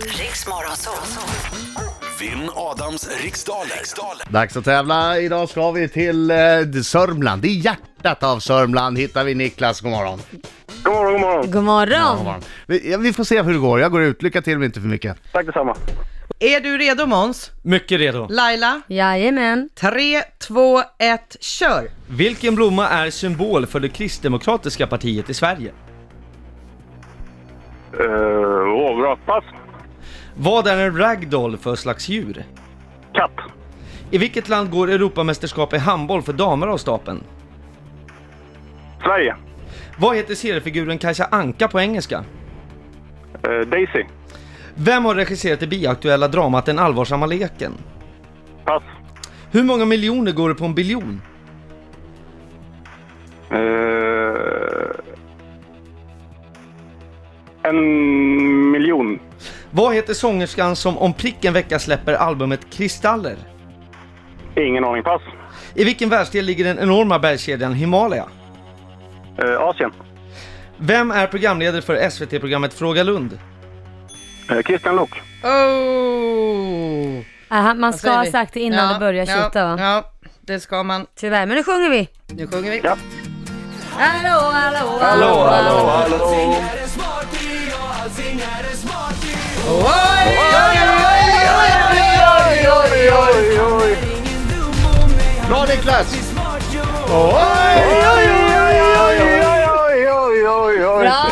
Riks Morgonzoo. Vinn Adams riksdaler. riksdaler. Dags att tävla. Idag ska vi till eh, Sörmland. I hjärtat av Sörmland hittar vi Niklas. God morgon. God morgon, god morgon. God God morgon! morgon. Vi, ja, vi får se hur det går. Jag går ut. Lycka till men inte för mycket. Tack detsamma. Är du redo Måns? Mycket redo. Laila? Jajamän. 3, 2, 1, kör! Vilken blomma är symbol för det kristdemokratiska partiet i Sverige? Uh, åh, bra. Pass. Vad är en ragdoll för slags djur? Katt. I vilket land går Europamästerskap i handboll för damer av stapeln? Sverige. Vad heter seriefiguren Kajsa Anka på engelska? Eh, Daisy. Vem har regisserat det biaktuella dramat Den allvarsamma leken? Pass. Hur många miljoner går det på en biljon? Eh, en miljon. Vad heter sångerskan som om pricken vecka släpper albumet Kristaller? Ingen aning. Pass. I vilken världsdel ligger den enorma bergskedjan Himalaya? Eh, Asien. Vem är programledare för SVT-programmet Fråga Lund? Eh, Christian Lok. Oh. Aha, Äh, man Vad ska säger ha vi? sagt det innan Ja, det börjar ja, tjuta va? Ja, det ska man. Tyvärr, men nu sjunger vi. Nu sjunger vi. Ja. Hallå, hallå, Hallå, hallå, hallå. Oj, oj, oj, oj, oj. Bra Niklas! Bra!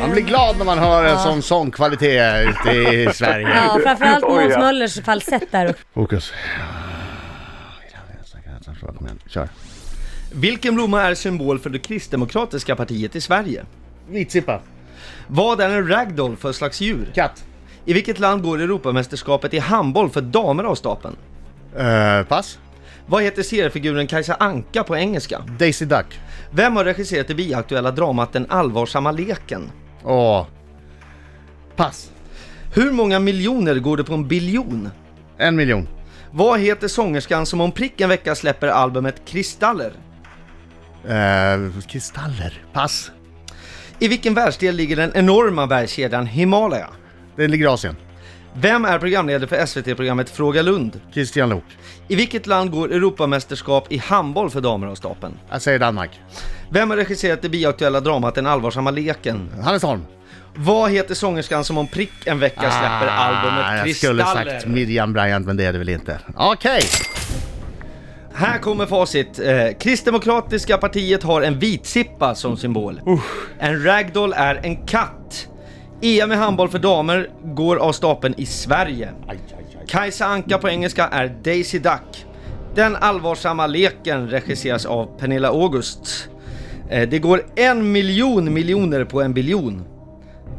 Man blir glad när man hör en sån sångkvalitet ute i Sverige. Ja, framförallt Oj, Måns ja. Möllers falsett där. Fokus. Kom igen, kör. Vilken blomma är symbol för det kristdemokratiska partiet i Sverige? Vitsippa. Vad är en ragdoll för slags djur? Katt. I vilket land går Europamästerskapet i handboll för damer av stapeln? Eh, pass. Vad heter seriefiguren Kajsa Anka på engelska? Daisy Duck. Vem har regisserat det biaktuella dramat Den allvarsamma leken? Åh. Pass. Hur många miljoner går det på en biljon? En miljon. Vad heter sångerskan som om prick en vecka släpper albumet Kristaller? Eh, kristaller. Pass. I vilken världsdel ligger den enorma bergskedjan Himalaya? Det ligger i Asien. Vem är programledare för SVT-programmet Fråga Lund? Christian Lok. I vilket land går Europamästerskap i handboll för damer av stapeln? Jag säger Danmark. Vem har regisserat det biaktuella dramat Den allvarsamma leken? Hannes Holm. Vad heter sångerskan som om prick en vecka släpper albumet Ah, Jag skulle Kristaller? sagt Miriam Bryant, men det är det väl inte. Okej! Här kommer facit. Eh, Kristdemokratiska partiet har en vitsippa som symbol. En ragdoll är en katt. EM i handboll för damer går av stapeln i Sverige. Kajsa Anka på engelska är Daisy Duck. Den allvarsamma leken regisseras av Pernilla August. Eh, Det går en miljon miljoner på en biljon.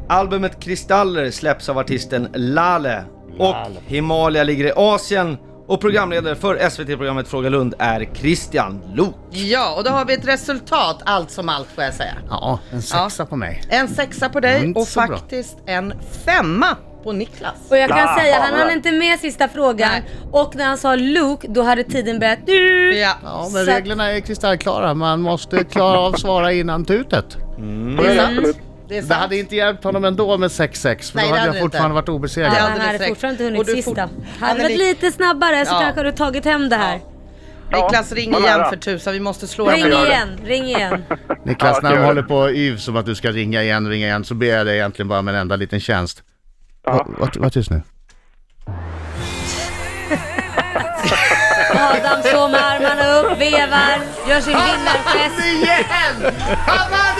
Albumet Kristaller släpps av artisten Lale och Himalaya ligger i Asien och programledare för SVT-programmet Fråga Lund är Christian Lok. Ja, och då har vi ett resultat allt som allt får jag säga. Ja, en sexa på mig. En sexa på Det är dig inte och så bra. faktiskt en femma på Niklas. Och jag kan Ah, säga, han bra. hann inte med sista frågan. Och när han sa Luke, då hade tiden börjat... Mm. Du. Ja. Ja, Så men att- reglerna är kristallklara. Man måste klara av svara innan tutet. Absolut. Det är Det sant. hade inte hjälpt honom ändå med 6-6, för Nej, då hade det hade jag det fortfarande inte. varit obesegrad. Det Ja, hade han du hade säkert. fortfarande inte Och du hunnit fort- sista. Hade det varit Anneli- lite snabbare så Ja. kanske du tagit hem det här. Niklas, ring Ja, vad igen nära. för tusan. Vi måste slå Ring den. gör det. igen, ring igen. Niklas, Ja, när de kul. håller på och yvs om att du ska ringa igen, ringa igen, så ber jag dig egentligen bara om en enda liten tjänst. Ja. Var, var, var tyst nu. Adam står med armarna upp, vevar, gör sin vinnargest. Igen! Han vann